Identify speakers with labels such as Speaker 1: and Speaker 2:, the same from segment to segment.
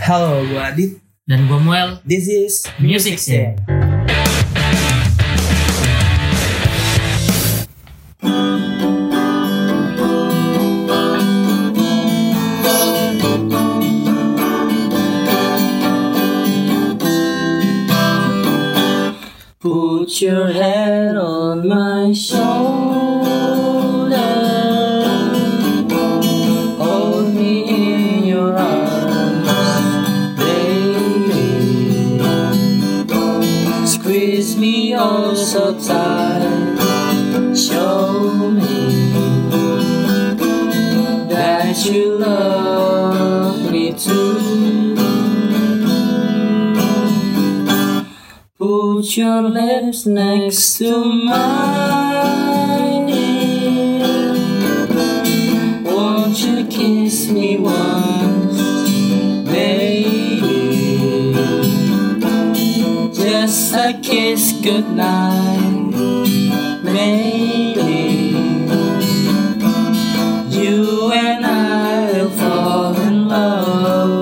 Speaker 1: Halo, gue Adit.
Speaker 2: Dan gue Muel,
Speaker 1: uh, This is
Speaker 2: Music Scene.
Speaker 1: Put your head on my shoulder. Hold me in your arms, baby. Squeeze me oh so tight. Show me that you love me too. Put your lips next to mine. Won't you kiss me once, baby? Just a kiss goodnight, maybe. You and I will fall in love.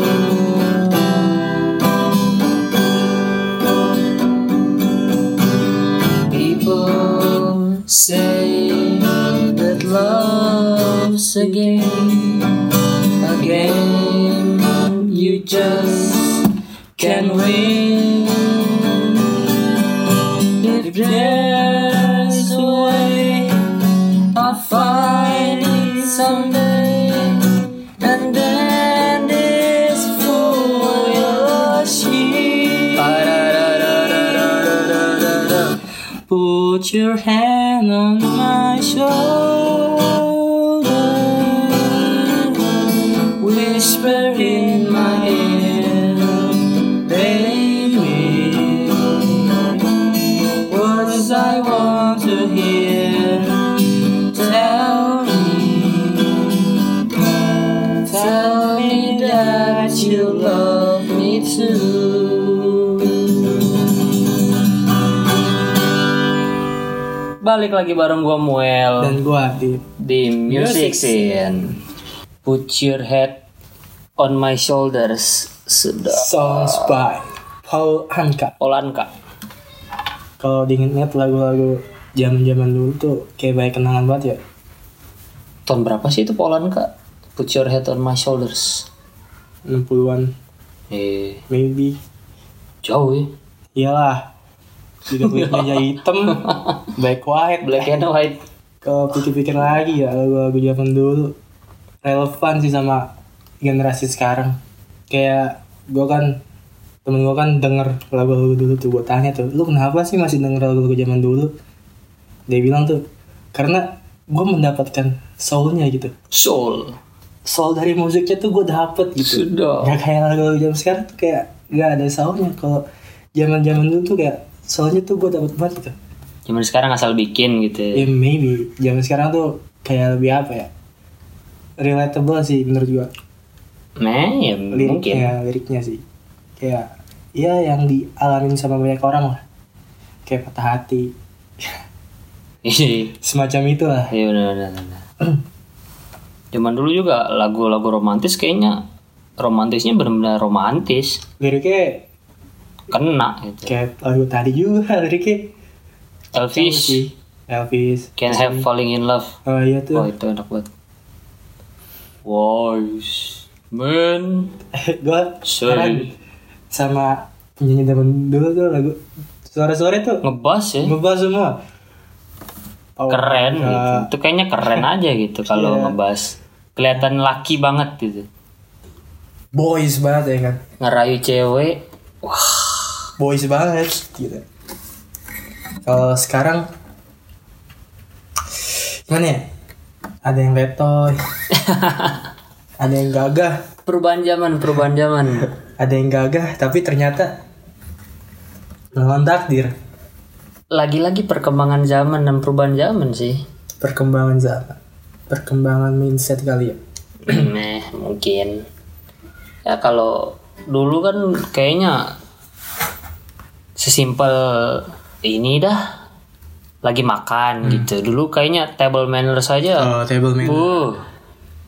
Speaker 1: People say that love's a game, a game you just can win. If there's a way I'll find it someday, and then this fool will sheep. Put your hand on my shoulder, whisper in my ear, baby, words I want to hear. Tell me, tell me that you love me too.
Speaker 3: Balik lagi bareng gua Muel
Speaker 1: dan gua Adit.
Speaker 3: di Music Scene. Put your head on my shoulders. Sudah.
Speaker 1: Songs by Paul Anka.
Speaker 3: Olanka.
Speaker 1: Kalau diinget-inget lagu-lagu zaman-zaman dulu tuh kayak banyak kenangan banget ya.
Speaker 3: Tahun berapa sih itu Polanka? Put your head on my shoulders.
Speaker 1: 60-an
Speaker 3: Eh,
Speaker 1: maybe.
Speaker 3: jauh ya.
Speaker 1: Iyalah. Tidak kulitnya aja hitam, black white,
Speaker 3: Black and white.
Speaker 1: Kalau pikir-pikir lagi ya lagu-lagu zaman dulu relevan sih sama generasi sekarang. Kayak gue kan temen gue kan denger lagu-lagu dulu tuh gue tanya tuh lu kenapa sih masih denger lagu-lagu zaman dulu dia bilang tuh karena gue mendapatkan soulnya gitu
Speaker 3: Soul.
Speaker 1: soul dari musiknya tuh gue dapet gitu
Speaker 3: Sudah.
Speaker 1: Gak kayak lagu-lagu zaman sekarang tuh kayak gak ada soulnya kalau zaman zaman dulu tuh kayak soulnya tuh gue dapet banget gitu
Speaker 3: Cuman sekarang asal bikin gitu.
Speaker 1: ya maybe zaman sekarang tuh kayak lebih apa ya relatable sih menurut gua
Speaker 3: Nah, ya mungkin.
Speaker 1: liriknya liriknya sih kayak ya yang dialamin sama banyak orang lah kayak patah hati
Speaker 3: Iya
Speaker 1: semacam itulah
Speaker 3: benar-benar. Zaman dulu juga lagu-lagu romantis kayaknya romantisnya benar-benar romantis.
Speaker 1: liriknya
Speaker 3: kena gitu.
Speaker 1: kayak lagu tadi juga liriknya
Speaker 3: Elvis
Speaker 1: Elvis
Speaker 3: can have falling in love.
Speaker 1: oh iya
Speaker 3: Wah
Speaker 1: tuh
Speaker 3: itu enak banget. Wise men
Speaker 1: gua
Speaker 3: say
Speaker 1: heran sama penyanyi zaman dulu tuh lagu suara-suara tuh
Speaker 3: ngebas ya.
Speaker 1: ngebas semua Oh, Kak.
Speaker 3: Keren gitu. Itu kayaknya keren aja gitu kalau
Speaker 1: Iya.
Speaker 3: ngebas. Kelihatan laki banget gitu.
Speaker 1: boys banget ya kan
Speaker 3: Ngerayu cewek.
Speaker 1: boys banget gitu kalau sekarang gimana ya ada yang letoy ada yang gagah
Speaker 3: Perubahan zaman, perubahan zaman.
Speaker 1: ada yang gagah tapi ternyata melawan takdir
Speaker 3: Lagi-lagi perkembangan zaman dan perubahan zaman sih.
Speaker 1: perkembangan zaman perkembangan mindset kali ya
Speaker 3: Nah, mungkin. Ya kalau dulu kan kayaknya sesimpel ini dah
Speaker 1: Oh,
Speaker 3: lagi makan gitu. Dulu kayaknya table manner saja.
Speaker 1: table
Speaker 3: Uh,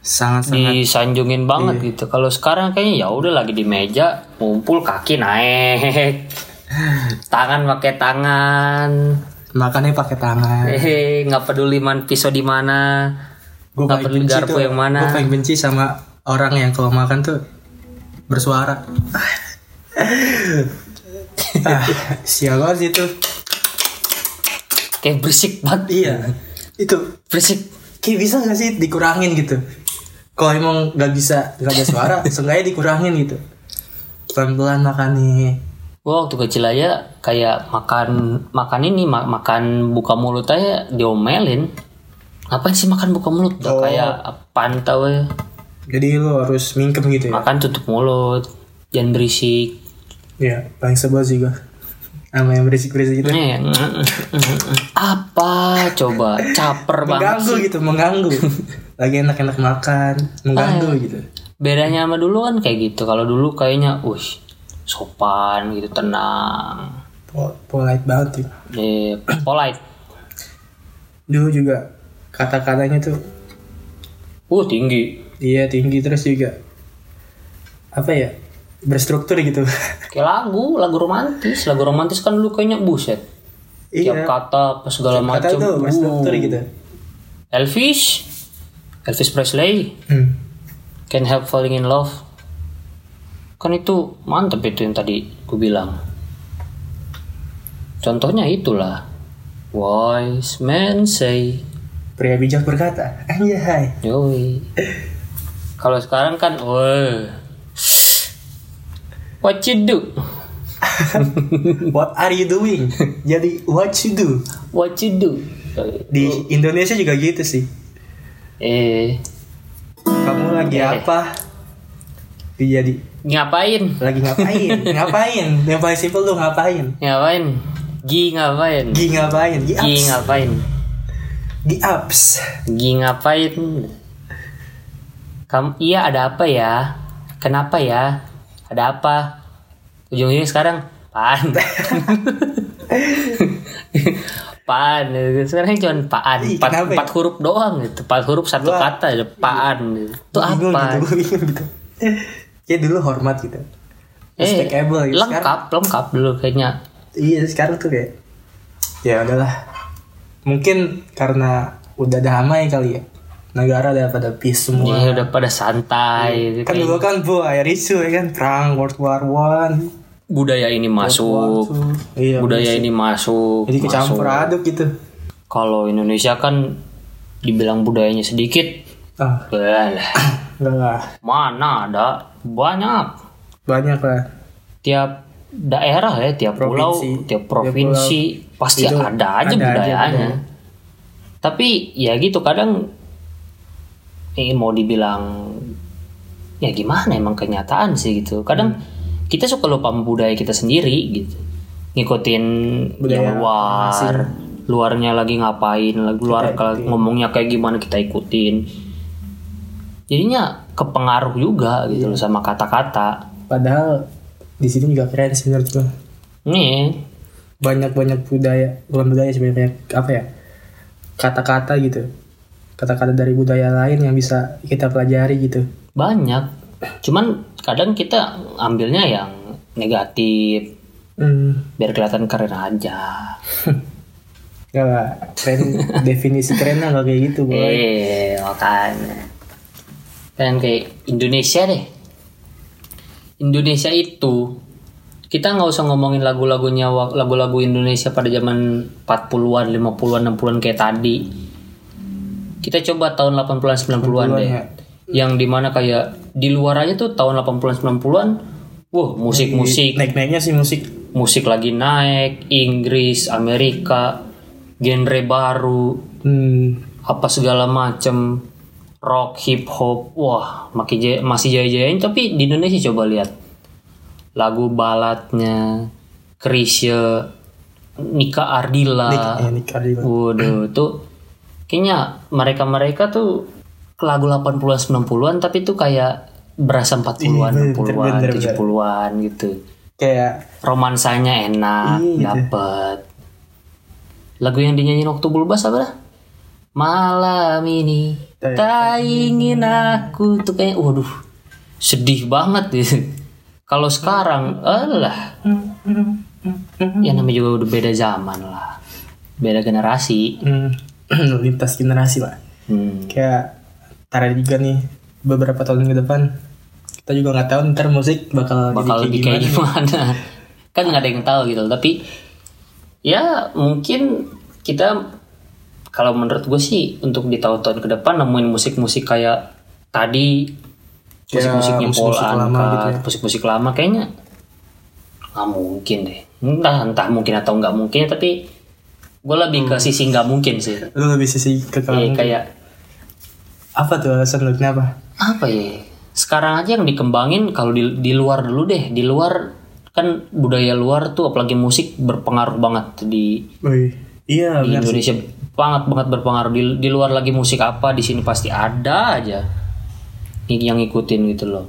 Speaker 4: sangat-sangat
Speaker 3: disanjungin banget gitu. Kalau sekarang kayaknya ya udah lagi di meja, ngumpul kaki naik, tangan pakai tangan,
Speaker 4: makannya pakai
Speaker 1: Nah.
Speaker 4: tangan.
Speaker 3: Iya. hehe nggak peduli man pisau di mana,
Speaker 4: Gue
Speaker 3: nggak peduli garpu yang
Speaker 4: Gue
Speaker 3: mana.
Speaker 4: paling benci sama orang yang kalau makan tuh bersuara. ah, sial banget sih itu.
Speaker 3: Kayak berisik banget,
Speaker 4: Iya, itu
Speaker 3: berisik.
Speaker 4: kayak bisa gak sih dikurangin gitu? Kalau emang gak bisa, gak ada suara, seenggaknya dikurangin gitu. Pelan-pelan makan nih.
Speaker 3: Gua waktu kecil aja kayak makan makan ini ma- makan buka mulut aja diomelin. Apa sih makan buka mulut?
Speaker 4: Oh.
Speaker 3: Udah kayak apaan tau ya.
Speaker 4: Jadi lo harus mingkem gitu ya.
Speaker 3: Makan tutup mulut, jangan berisik.
Speaker 4: Iya, paling sebel sih gue. Sama yang berisik-berisik gitu.
Speaker 3: Eh, apa coba caper banget
Speaker 4: Mengganggu gitu, mengganggu. Lagi enak-enak makan,
Speaker 3: Oh,
Speaker 4: mengganggu
Speaker 3: iya.
Speaker 4: gitu.
Speaker 3: bedanya sama dulu kan kayak gitu kalau dulu kayaknya ush sopan gitu tenang
Speaker 4: Po- Polite banget sih.
Speaker 3: eh, polite
Speaker 4: Dulu juga kata-katanya tuh
Speaker 3: uh tinggi
Speaker 4: dia tinggi terus juga apa ya berstruktur gitu.
Speaker 3: kayak lagu lagu romantis lagu romantis kan dulu kayaknya buset tiap
Speaker 4: iya.
Speaker 3: kata apa segala macam
Speaker 4: Kata tuh berstruktur
Speaker 3: Uh.
Speaker 4: gitu.
Speaker 3: Elvis Elvis Presley
Speaker 4: Hmm.
Speaker 3: Can't Help Falling in Love kan itu mantep itu yang tadi ku bilang contohnya itulah wise men say
Speaker 4: Pria bijak berkata, anjay.
Speaker 3: Yoi. Kalau sekarang kan, woi. What you do?
Speaker 4: What are you doing? Jadi what you do?
Speaker 3: What you do?
Speaker 4: Di Indonesia juga gitu sih.
Speaker 3: Eh,
Speaker 4: Kamu lagi
Speaker 3: Eh.
Speaker 4: apa? Jadi
Speaker 3: ngapain?
Speaker 4: lagi ngapain? ngapain? Yang paling simpel tuh ngapain?
Speaker 3: Ngapain? Gi ngapain?
Speaker 4: Gi ngapain? Gi
Speaker 3: Gi
Speaker 4: ups.
Speaker 3: ngapain?
Speaker 4: Gi ups.
Speaker 3: Gi ngapain? Kamu iya ada apa ya? Kenapa ya? Ada apa? Ujung-ujungnya sekarang pan. paan gitu. sekarang cuma paan
Speaker 4: Ih,
Speaker 3: empat,
Speaker 4: kenapa ya?
Speaker 3: empat huruf doang gitu empat huruf satu
Speaker 4: Gua-
Speaker 3: kata gitu. paan gitu. itu
Speaker 4: Gua bingung
Speaker 3: apa
Speaker 4: Gitu, gua bingung gitu. Kayak dulu hormat gitu.
Speaker 3: eh
Speaker 4: Respectable gitu. Sekarang,
Speaker 3: lengkap lengkap dulu kayaknya
Speaker 4: iya sekarang tuh kayak ya udahlah. Mungkin karena udah damai kali ya. Negara udah pada peace semua.
Speaker 3: Ini udah pada santai gitu.
Speaker 4: Kan dulu kan bu air isu ya kan perang World War One.
Speaker 3: budaya ini masuk
Speaker 4: Iya.
Speaker 3: budaya ini masuk
Speaker 4: Jadi
Speaker 3: masuk.
Speaker 4: kecampur aduk gitu.
Speaker 3: kalau Indonesia kan dibilang budayanya sedikit
Speaker 4: Ah,
Speaker 3: Belah,
Speaker 4: enggak lah.
Speaker 3: mana ada banyak
Speaker 4: Banyak lah.
Speaker 3: tiap daerah ya tiap pulau
Speaker 4: Provinsi.
Speaker 3: tiap provinsi pasti
Speaker 4: Itu
Speaker 3: ada aja
Speaker 4: ada aja
Speaker 3: budayanya
Speaker 4: budaya.
Speaker 3: tapi ya gitu kadang eh, mau dibilang ya gimana emang kenyataan sih gitu kadang kita suka lupa sama budaya kita sendiri gitu ngikutin
Speaker 4: Budaya
Speaker 3: yang luar
Speaker 4: asing.
Speaker 3: luarnya lagi ngapain lagi luar kalau ngomongnya kayak gimana kita ikutin jadinya kepengaruh juga gitu loh sama kata-kata
Speaker 4: Padahal di sini juga keren sih menurut gua.
Speaker 3: nih
Speaker 4: Banyak-banyak budaya, bukan budaya sih banyak apa ya? Kata-kata gitu. Kata-kata dari budaya lain yang bisa kita pelajari gitu.
Speaker 3: banyak cuman kadang kita ambilnya yang negatif
Speaker 4: Hmm,
Speaker 3: biar kelihatan keren aja
Speaker 4: enggak lah. Keren definisi kerennya enggak kayak gitu, boy.
Speaker 3: eh makanya kan kayak Indonesia deh Indonesia itu kita nggak usah ngomongin lagu-lagunya wa- lagu-lagu Indonesia pada zaman 40-an, 50-an, 60-an kayak tadi. Kita coba tahun 80-an, 90-an deh.
Speaker 4: ya.
Speaker 3: Yang dimana kayak di luar aja tuh tahun 80-an, 90-an, wah musik-musik
Speaker 4: Naik-naiknya sih musik.
Speaker 3: musik lagi naik, Inggris, Amerika, genre baru,
Speaker 4: Hmm,
Speaker 3: apa segala macem, rock, hip hop, wah makin jaya- masih jaya-jayain tapi di Indonesia coba lihat lagu baladnya, Chrisye, Nika Ardila,
Speaker 4: eh, nikah juga.
Speaker 3: waduh tuh kayaknya mereka-mereka tuh ke lagu 80-an 90-an tapi tuh kayak berasa 40-an, 60-an, 70-an gitu
Speaker 4: Kayak
Speaker 3: romansanya enak
Speaker 4: Iya, gitu.
Speaker 3: dapet lagu yang dinyanyiin waktu bulbas apa dah malam ini
Speaker 4: Eh,
Speaker 3: Tak ingin aku tuh kayak waduh sedih banget ya. Kalau sekarang alah ya namanya juga udah beda zaman lah. Beda generasi.
Speaker 4: Hmm, lintas generasi lah
Speaker 3: Hmm.
Speaker 4: kayak tarik juga nih beberapa tahun ke depan kita juga nggak tahu ntar musik bakal,
Speaker 3: Bakal lebih
Speaker 4: jadi
Speaker 3: kayak gimana. kan nggak ada yang tahu gitu tapi ya mungkin kita kalau menurut gue sih untuk di tahun-tahun ke depan nemuin musik-musik kayak tadi
Speaker 4: Kayak
Speaker 3: musik-musiknya
Speaker 4: Ya, musik-musik
Speaker 3: Paul
Speaker 4: lama
Speaker 3: Anka,
Speaker 4: gitu ya.
Speaker 3: musik-musik lama kayaknya nggak mungkin deh entah entah mungkin atau nggak mungkin tapi gue lebih
Speaker 4: Hmm.
Speaker 3: ke sisi nggak mungkin sih
Speaker 4: lu lebih sisi ke
Speaker 3: Iya,
Speaker 4: kamu
Speaker 3: kayak
Speaker 4: apa tuh alasan lu kenapa
Speaker 3: apa ya sekarang aja yang dikembangin kalau di, di luar dulu deh di luar kan budaya luar tuh apalagi musik berpengaruh banget di
Speaker 4: Wih, iya
Speaker 3: di
Speaker 4: benar sih.
Speaker 3: Indonesia banget banget berpengaruh di, di luar lagi musik apa di sini pasti ada aja yang yang ngikutin gitu loh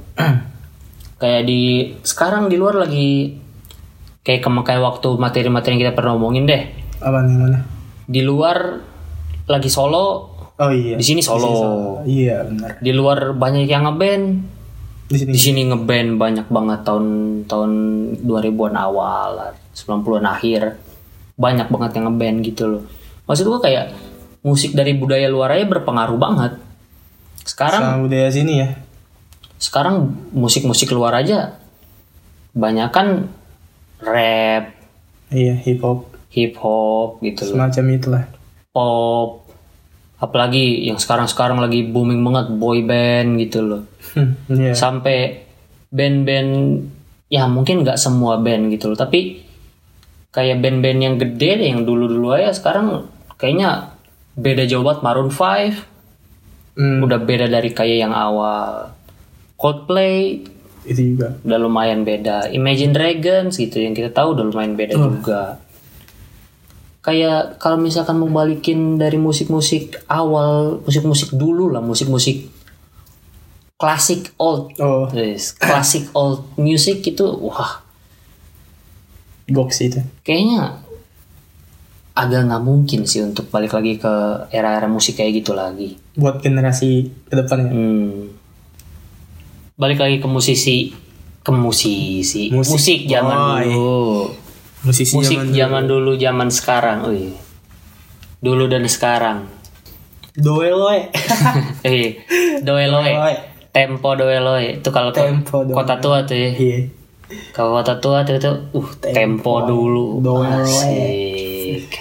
Speaker 3: kayak di sekarang di luar lagi kayak kemakai waktu materi-materi yang kita pernah omongin deh
Speaker 4: apa nih mana
Speaker 3: di luar lagi solo
Speaker 4: oh iya
Speaker 3: di sini Oh. solo
Speaker 4: iya benar
Speaker 3: di luar banyak yang ngeband
Speaker 4: di sini
Speaker 3: di sini ngeband banyak banget tahun tahun 2000-an awal 90-an akhir banyak banget yang ngeband gitu loh maksud gua kayak musik dari budaya luar aja berpengaruh banget sekarang
Speaker 4: sama budaya sini ya
Speaker 3: sekarang musik-musik luar aja banyak kan rap
Speaker 4: iya hip hop
Speaker 3: hip hop gitu loh
Speaker 4: semacam itulah
Speaker 3: pop apalagi yang sekarang-sekarang lagi booming banget boy band gitu loh
Speaker 4: hmm, iya
Speaker 3: sampai band-band ya mungkin nggak semua band gitu loh tapi kayak band-band yang gede deh yang dulu-dulu aja sekarang kayaknya beda jauh banget Maroon 5
Speaker 4: Hmm,
Speaker 3: udah beda dari kayak yang awal Coldplay
Speaker 4: itu juga
Speaker 3: udah lumayan beda Imagine Dragons gitu yang kita tahu udah lumayan beda juga kayak kalau misalkan mau balikin dari musik-musik awal musik-musik dulu lah musik-musik klasik old
Speaker 4: oh
Speaker 3: Yes, classic old music itu wah
Speaker 4: box itu
Speaker 3: kayaknya agak nggak mungkin sih untuk balik lagi ke era-era musik kayak gitu lagi.
Speaker 4: buat generasi ke depan ya
Speaker 3: Hmm. Balik lagi ke musisi ke musisi
Speaker 4: Musik.
Speaker 3: musik, zaman
Speaker 4: Oh, iya.
Speaker 3: dulu
Speaker 4: musisi
Speaker 3: musik
Speaker 4: zaman
Speaker 3: zaman dulu zaman sekarang Wih. dulu dan sekarang
Speaker 4: doeloe
Speaker 3: eh doeloe
Speaker 4: Doeloe.
Speaker 3: tempo doeloe itu kalau ke
Speaker 4: Tempo doeloe.
Speaker 3: kota tua tuh ya
Speaker 4: iya
Speaker 3: Kalau kota tua tuh tuh, uh tempo, dulu
Speaker 4: Doel.
Speaker 3: Asik.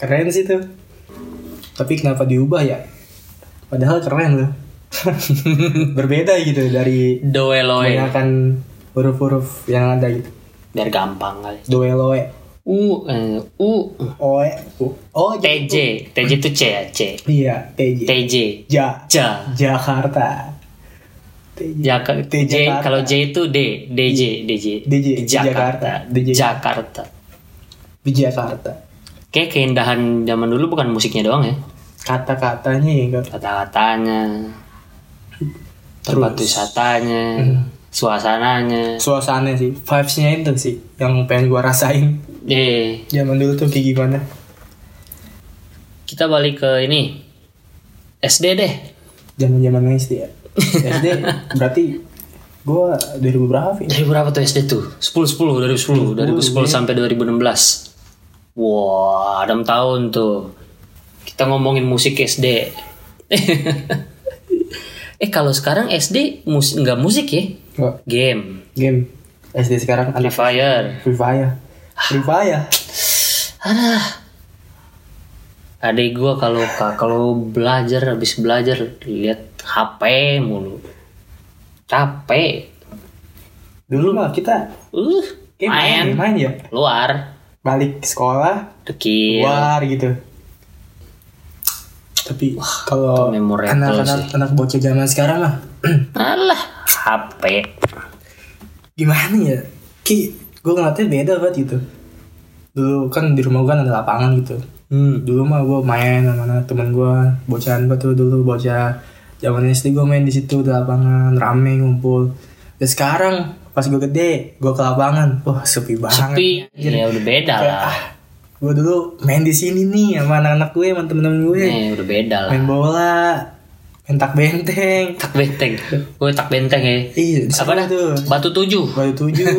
Speaker 4: keren sih tuh tapi kenapa diubah ya padahal keren loh berbeda gitu dari
Speaker 3: Doeloe
Speaker 4: kebanyakan huruf-huruf yang ada gitu
Speaker 3: biar gampang kali.
Speaker 4: doeloe
Speaker 3: U eh, U
Speaker 4: oe u oh jadi-
Speaker 3: TJ TJ itu C ya C
Speaker 4: iya tj
Speaker 3: TJ
Speaker 4: ja
Speaker 3: Ja
Speaker 4: Jakarta TJ
Speaker 3: Jaka,
Speaker 4: T
Speaker 3: Ya, J,
Speaker 4: Jakarta.
Speaker 3: kalau J itu D DJ DJ
Speaker 4: DJ,
Speaker 3: Jakarta
Speaker 4: Jakarta. DJ.
Speaker 3: Jakarta
Speaker 4: di Jakarta
Speaker 3: kayak keindahan zaman dulu bukan musiknya doang ya
Speaker 4: kata-katanya ya enggak
Speaker 3: kata-katanya tempat wisatanya suasananya
Speaker 4: suasana sih vibesnya itu sih yang pengen gua rasain
Speaker 3: eh
Speaker 4: zaman dulu tuh kayak gimana
Speaker 3: kita balik ke ini SD deh
Speaker 4: zaman zaman SD ya SD berarti gua 2000 berapa Vin?
Speaker 3: dari berapa tuh SD tuh iya. 10 10 dari 10 dari 10 sampai 2016 wah 6 tahun tuh kita ngomongin musik SD eh kalau sekarang SD mus nggak musik ya
Speaker 4: Gua
Speaker 3: game
Speaker 4: game SD sekarang
Speaker 3: Free
Speaker 4: anak
Speaker 3: Fire
Speaker 4: Free Fire Free Fire
Speaker 3: adek gua kalau ka- kalau belajar habis belajar lihat HP mulu capek
Speaker 4: dulu mah kita
Speaker 3: uh
Speaker 4: game
Speaker 3: main
Speaker 4: main, main ya
Speaker 3: luar
Speaker 4: balik sekolah
Speaker 3: dekil
Speaker 4: keluar gitu tapi kalau
Speaker 3: itu memorable
Speaker 4: anak-anak
Speaker 3: sih.
Speaker 4: anak bocah zaman sekarang mah
Speaker 3: alah HP
Speaker 4: gimana ya ki gue ngeliatnya beda banget gitu dulu kan di rumah gue ada lapangan gitu
Speaker 3: Hmm.
Speaker 4: dulu mah gue main sama anak temen gue bocahan gue tuh dulu bocah zaman SD gue main di situ di lapangan rame ngumpul dan sekarang pas gue gede gue ke lapangan wah sepi banget
Speaker 3: sepi ya udah beda
Speaker 4: Kayak,
Speaker 3: lah
Speaker 4: ah, gue
Speaker 3: Ya,
Speaker 4: dulu main di sini nih sama anak-anak gue sama temen-temen gue
Speaker 3: Eh, udah beda lah.
Speaker 4: main bola Pentak benteng.
Speaker 3: tak benteng gue tak benteng ya
Speaker 4: Iya, di
Speaker 3: apa dah
Speaker 4: sana tuh.
Speaker 3: batu tujuh
Speaker 4: Bayu tujuh.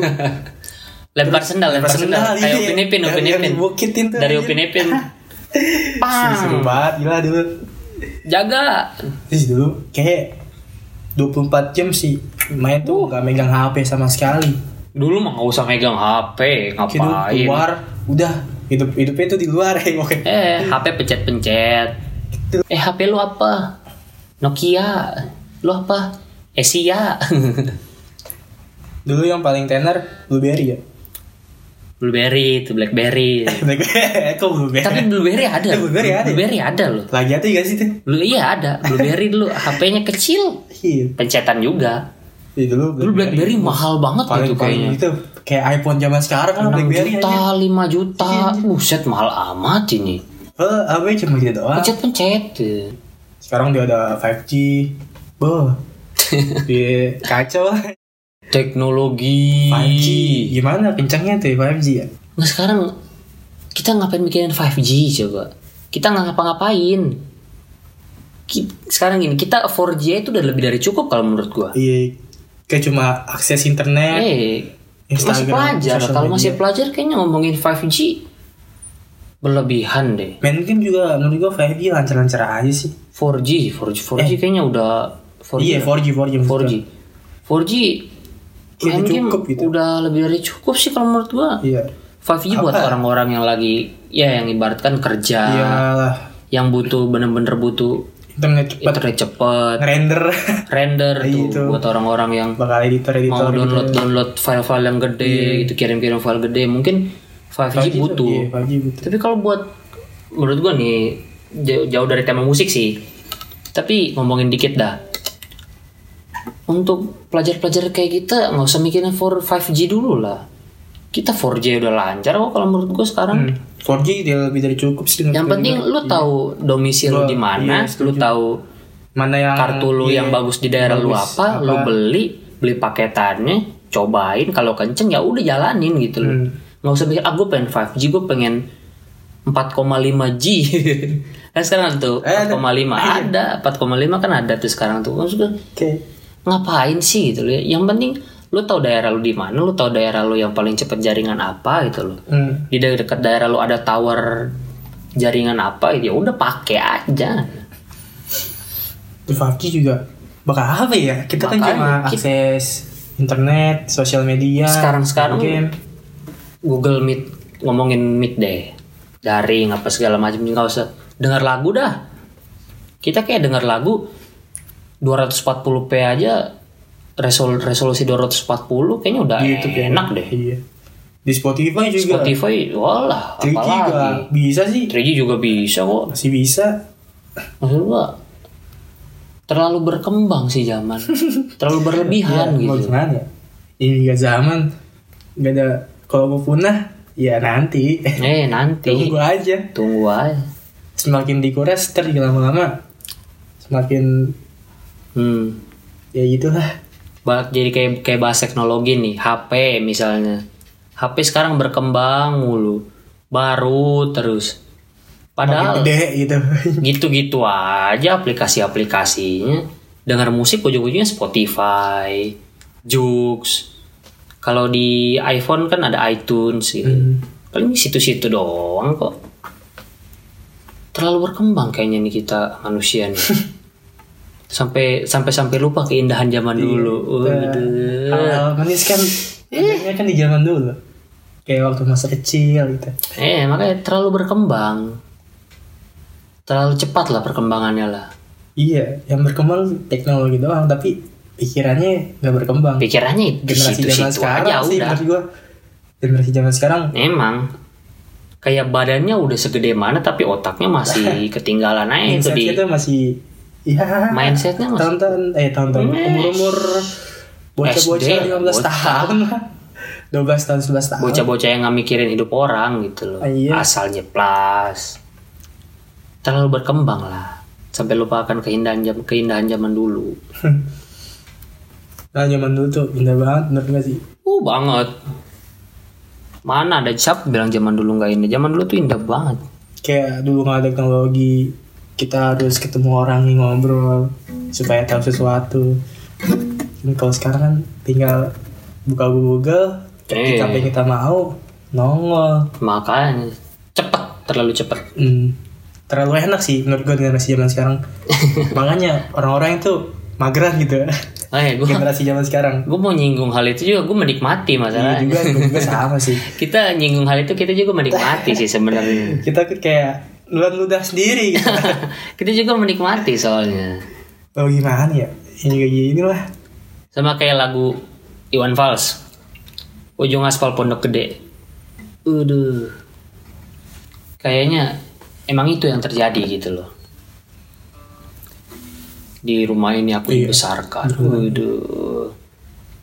Speaker 3: lempar sendal lempar sendal kayak upin ipin upin ipin
Speaker 4: Bukitin iya. tuh.
Speaker 3: dari
Speaker 4: anjing.
Speaker 3: upin ipin
Speaker 4: Seru- Seru banget gila dulu.
Speaker 3: jaga
Speaker 4: Terus dulu kayak 24 jam sih main tuh nggak megang HP sama sekali.
Speaker 3: dulu mah nggak usah megang hp ngapain
Speaker 4: Gitu keluar udah hidup hidupnya tuh di luar ya oke.
Speaker 3: eh hp pencet pencet
Speaker 4: Gitu.
Speaker 3: eh hp lu apa Nokia lu apa Asia
Speaker 4: Dulu yang paling tenar Blueberry ya.
Speaker 3: Blueberry itu Blackberry
Speaker 4: Kok Blueberry?
Speaker 3: tapi Blueberry ada
Speaker 4: Blueberry ada ya?
Speaker 3: Blueberry ada loh
Speaker 4: Lagi ada gak sih tuh?
Speaker 3: Lu iya ada Blueberry dulu HP-nya kecil
Speaker 4: Iya.
Speaker 3: pencetan juga
Speaker 4: Iya, dulu
Speaker 3: dulu BlackBerry mahal banget
Speaker 4: paling
Speaker 3: gitu
Speaker 4: paling
Speaker 3: kayaknya
Speaker 4: itu kayak iPhone zaman sekarang kan
Speaker 3: 6
Speaker 4: BlackBerry
Speaker 3: juta,
Speaker 4: aja.
Speaker 3: 5 juta
Speaker 4: Iya,
Speaker 3: Buset mahal amat ini
Speaker 4: Eh, apa ya, cuma gitu doang.
Speaker 3: Pencet-pencet
Speaker 4: Sekarang dia ada 5G. Boh. Dia kacau lah.
Speaker 3: Teknologi
Speaker 4: 5G. Gimana kencangnya tuh 5G ya?
Speaker 3: Nah sekarang Kita ngapain mikirin 5G coba Kita nggak ngapa-ngapain Ki- Sekarang gini Kita 4G itu udah lebih dari cukup kalau menurut gua
Speaker 4: Iya. Kayak cuma akses
Speaker 3: Eh
Speaker 4: internet.
Speaker 3: Masih
Speaker 4: Iya. Instagram,
Speaker 3: pelajar
Speaker 4: sosial
Speaker 3: Kalau
Speaker 4: media.
Speaker 3: masih pelajar kayaknya ngomongin 5G Berlebihan deh
Speaker 4: Main game juga menurut gua 5G lancar-lancar aja sih.
Speaker 3: 4G, 4G, 4G kayaknya udah 4G.
Speaker 4: Eh. Iya 4G 4G.
Speaker 3: 4G. 4G
Speaker 4: Udah
Speaker 3: main game
Speaker 4: cukup gitu.
Speaker 3: udah lebih dari cukup sih kalau menurut gua.
Speaker 4: Iya.
Speaker 3: 5G buat
Speaker 4: Apa?
Speaker 3: orang-orang yang lagi ya yang ibaratkan kerja,
Speaker 4: Iya. Iyalah
Speaker 3: yang butuh bener-bener butuh
Speaker 4: internet cepat
Speaker 3: internet cepet,
Speaker 4: render
Speaker 3: render tuh
Speaker 4: Iya, itu.
Speaker 3: buat orang-orang yang
Speaker 4: bakal editor
Speaker 3: mau
Speaker 4: editor
Speaker 3: download download file-file yang gede gitu kirim-kirim file gede mungkin 5G, butuh.
Speaker 4: Iya 5G butuh.
Speaker 3: Tapi kalau buat menurut gua nih jauh, jauh dari tema musik sih. Tapi ngomongin dikit dah. Untuk pelajar-pelajar kayak kita nggak usah mikirin for 5G dulu lah. Kita 4G udah lancar kok kalau menurut gua sekarang.
Speaker 4: Hmm, 4G dia lebih dari cukup sih.
Speaker 3: Yang penting lu tahu domisili lu di mana, lu tahu
Speaker 4: mana yang
Speaker 3: kartu lu
Speaker 4: iya,
Speaker 3: yang bagus di daerah lu
Speaker 4: bagus
Speaker 3: apa, lu beli, beli paketannya, cobain kalau kenceng ya udah jalanin gitu loh.
Speaker 4: Hmm.
Speaker 3: Nggak usah mikir ah gue pengen 5G, gue pengen 4,5G. kan sekarang tuh
Speaker 4: Eh, ada.
Speaker 3: 4,5 ada, 4,5 kan ada tuh sekarang tuh. Maksud gue,
Speaker 4: Oke.
Speaker 3: ngapain sih gitu loh. Yang penting lu tahu daerah lu di mana, lu tahu daerah lu yang paling cepet jaringan apa gitu loh.
Speaker 4: Hmm.
Speaker 3: Di de- dekat daerah lu ada tower jaringan apa ya udah pakai aja.
Speaker 4: Di 5G juga bakal apa ya? Kita kan
Speaker 3: Makanya
Speaker 4: cuma
Speaker 3: kita-
Speaker 4: akses internet, sosial media.
Speaker 3: Sekarang-sekarang
Speaker 4: game.
Speaker 3: Google Meet ngomongin Meet deh daring apa segala macam nggak usah dengar lagu dah kita kayak dengar lagu 240p aja resol resolusi 240 kayaknya udah
Speaker 4: di YouTube ya.
Speaker 3: enak deh
Speaker 4: Iya. Di Spotify juga.
Speaker 3: Spotify walah
Speaker 4: 3G juga
Speaker 3: apalagi
Speaker 4: bisa sih.
Speaker 3: 3G juga bisa kok
Speaker 4: Masih bisa.
Speaker 3: maksud gua terlalu berkembang sih zaman terlalu berlebihan
Speaker 4: Mau
Speaker 3: gitu
Speaker 4: gimana ya? Ini gak zaman. Gak ada. Kalau mau punah, ya nanti.
Speaker 3: eh nanti
Speaker 4: Tunggu aja.
Speaker 3: tunggu aja
Speaker 4: Semakin dikuras, ntar juga lama-lama. Semakin
Speaker 3: hmm
Speaker 4: ya gitulah.
Speaker 3: Ba- jadi kayak kayak bahas teknologi nih HP misalnya HP sekarang berkembang mulu baru terus padahal
Speaker 4: Gede gitu.
Speaker 3: gitu-gitu aja aplikasi-aplikasinya dengar musik ujung-ujungnya Spotify Joox kalau di iPhone kan ada iTunes gitu
Speaker 4: Hmm.
Speaker 3: paling situ-situ doang kok terlalu berkembang kayaknya nih kita manusia nih sampai sampai sampai lupa keindahan zaman
Speaker 4: Iya,
Speaker 3: dulu Oh, gitu. Waduh.
Speaker 4: Hal-hal manis kan
Speaker 3: Iya.
Speaker 4: adanya kan di zaman dulu. Kayak waktu masa kecil gitu.
Speaker 3: Eh, makanya terlalu berkembang. Terlalu cepat lah perkembangannya lah.
Speaker 4: Iya, yang berkembang teknologi doang, tapi pikirannya nggak berkembang.
Speaker 3: Pikirannya itu
Speaker 4: generasi zaman
Speaker 3: situ-situ
Speaker 4: sekarang
Speaker 3: aja
Speaker 4: sih
Speaker 3: udah.
Speaker 4: menurut gua. Generasi zaman sekarang
Speaker 3: Emang kayak badannya udah segede mana tapi otaknya masih ketinggalan aja itu
Speaker 4: mindset gitu.
Speaker 3: di
Speaker 4: kita masih ya
Speaker 3: mindsetnya masih
Speaker 4: tonton eh tonton umur-umur bocah-bocah
Speaker 3: SD,
Speaker 4: 15 tahun lah. 12 tahun 11 tahun.
Speaker 3: bocah-bocah yang nggak mikirin hidup orang gitu loh.
Speaker 4: Ah, iya.
Speaker 3: Asal nyeplas. Terlalu berkembang lah. Sampai lupa akan keindahan jam keindahan zaman dulu.
Speaker 4: Nah, zaman dulu tuh indah banget menurut gua sih.
Speaker 3: Uh banget. Mana ada cap bilang zaman dulu nggak indah. Zaman dulu tuh indah banget.
Speaker 4: Kayak dulu nggak ada teknologi kita harus ketemu orang nih ngobrol supaya tahu sesuatu Ini kalau sekarang kan tinggal buka Google
Speaker 1: Eh.
Speaker 4: kita pengen kita mau nongol
Speaker 1: makanya cepet terlalu cepet
Speaker 4: Hmm, terlalu enak sih menurut gue generasi zaman sekarang makanya orang-orang itu mageran gitu
Speaker 1: eh gue
Speaker 4: generasi zaman sekarang
Speaker 1: gue mau nyinggung hal itu juga gue menikmati
Speaker 4: Iya
Speaker 1: masalahnya
Speaker 4: juga juga sama sih
Speaker 1: kita nyinggung hal itu kita juga menikmati sih sebenarnya
Speaker 4: kita kayak luan ludah sendiri gitu.
Speaker 1: kita juga menikmati soalnya
Speaker 4: oh gimana ya ini kayak gini lah
Speaker 1: sama kayak lagu Iwan Fals ujung aspal pondok gede Udah kayaknya emang itu yang terjadi gitu loh di rumah ini aku
Speaker 4: Iya.
Speaker 1: dibesarkan Udah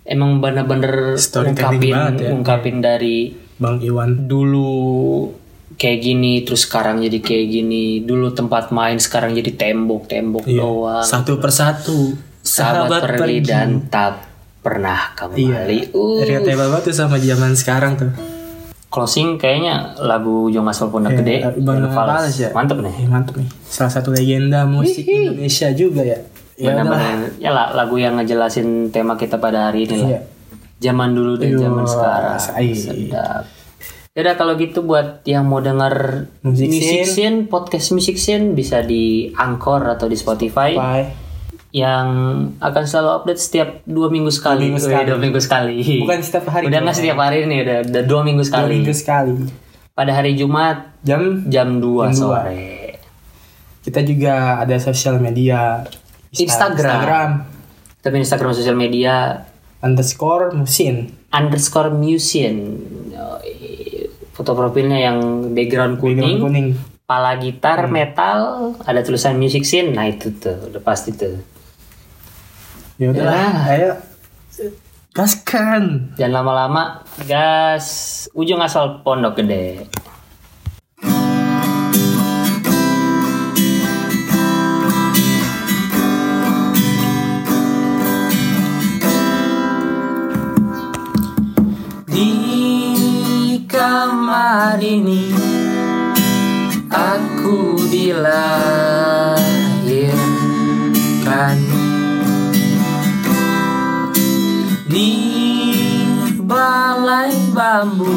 Speaker 1: emang bener-bener
Speaker 4: Storytelling
Speaker 1: ungkapin
Speaker 4: banget ya.
Speaker 1: ungkapin dari
Speaker 4: bang Iwan
Speaker 1: dulu kayak gini terus sekarang jadi kayak gini dulu tempat main sekarang jadi tembok tembok
Speaker 4: Iya.
Speaker 1: doang
Speaker 4: satu persatu
Speaker 1: sahabat, pergi,
Speaker 4: pergi.
Speaker 1: dan tak pernah kembali.
Speaker 4: iya
Speaker 1: Uh,
Speaker 4: relate banget tuh sama zaman sekarang tuh
Speaker 1: closing kayaknya lagu Jong Aspal Pondok Gede.
Speaker 4: Eh, Bang
Speaker 1: Iwan Fals.
Speaker 4: Fals ya
Speaker 1: Mantep nih.
Speaker 4: Eh, mantep nih salah satu legenda musik Indonesia juga ya ya udahlah.
Speaker 1: Benar-benar ya lah, lagu yang ngejelasin tema kita pada hari ini lah.
Speaker 4: Iya.
Speaker 1: Zaman dulu dan
Speaker 4: Iya,
Speaker 1: zaman sekarang.
Speaker 4: say.
Speaker 1: Sedap. Yaudah kalau gitu buat yang mau denger
Speaker 4: Music
Speaker 1: Music Scene, podcast Music Scene bisa di Anchor atau di Spotify.
Speaker 4: bye
Speaker 1: yang akan selalu update setiap dua minggu sekali.
Speaker 4: Dua minggu
Speaker 1: Wih,
Speaker 4: sekali.
Speaker 1: dua minggu sekali.
Speaker 4: Bukan setiap hari.
Speaker 1: Udah nggak setiap hari nih, udah, udah dua minggu
Speaker 4: dua
Speaker 1: sekali.
Speaker 4: minggu sekali
Speaker 1: Pada hari Jumat
Speaker 4: jam
Speaker 1: jam 2
Speaker 4: Jam dua.
Speaker 1: sore.
Speaker 4: kita juga ada sosial media
Speaker 1: Instagram.
Speaker 4: Instagram
Speaker 1: Tapi Instagram sosial media
Speaker 4: underscore mesin
Speaker 1: underscore musin. Foto profilnya yang background kuning,
Speaker 4: Background kuning Hmm.
Speaker 1: pala gitar metal, ada tulisan music scene. Nah itu tuh, udah pasti tuh.
Speaker 4: ya udahlah ayo gaskan
Speaker 1: Dan lama-lama gas ujung asal pondok gede. Di kamar ini aku dilahirkan di balai bambu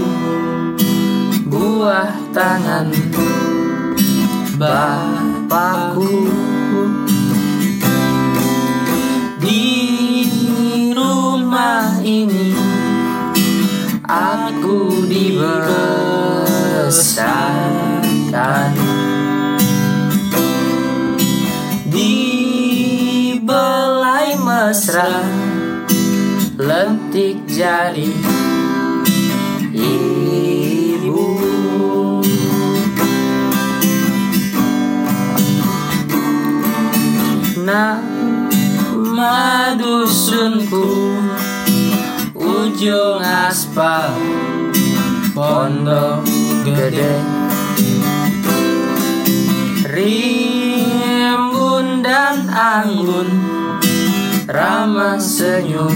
Speaker 1: buah tangan bapakku di rumah ini aku dibesarkan di belai mesra lentik jari ibu nama dusunku ujung aspal pondok gede rimbun dan anggun ramah senyum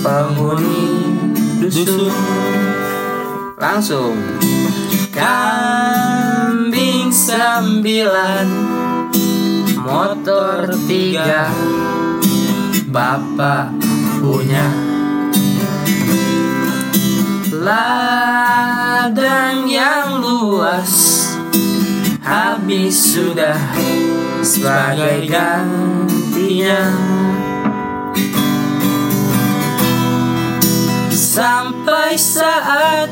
Speaker 1: penghuni dusun langsung kambing sembilan motor tiga bapak punya ladang yang luas habis sudah sebagai gantinya sampai saat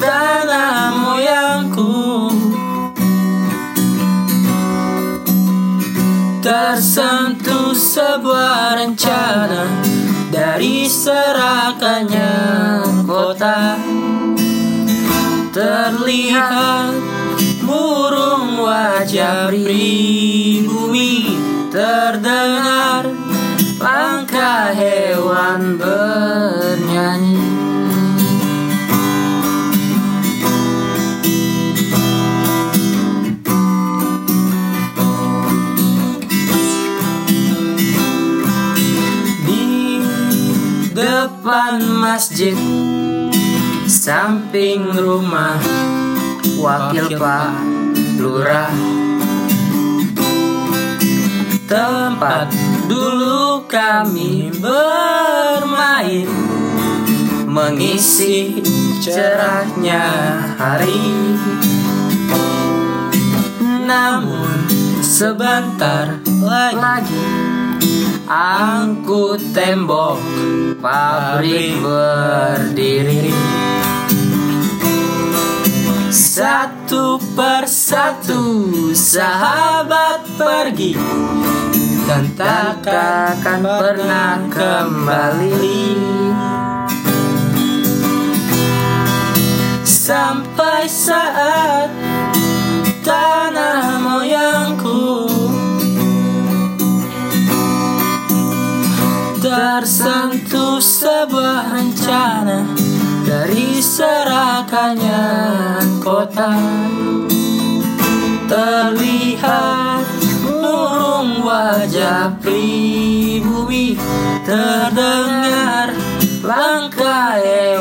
Speaker 1: tanah moyangku tersentuh sebuah rencana dari serakannya kota terlihat murung wajah pribumi terdengar langkah hewan bernyanyi di depan masjid samping rumah wakil pak lurah tempat dulu kami bermain mengisi cerahnya hari namun sebentar lagi, angkut tembok pabrik berdiri satu persatu sahabat pergi dan takkan pernah kembali. Sampai saat tanah moyangku Tersentuh sebuah rencana Dari serakannya kota Terlihat murung wajah pribumi Terdengar langkah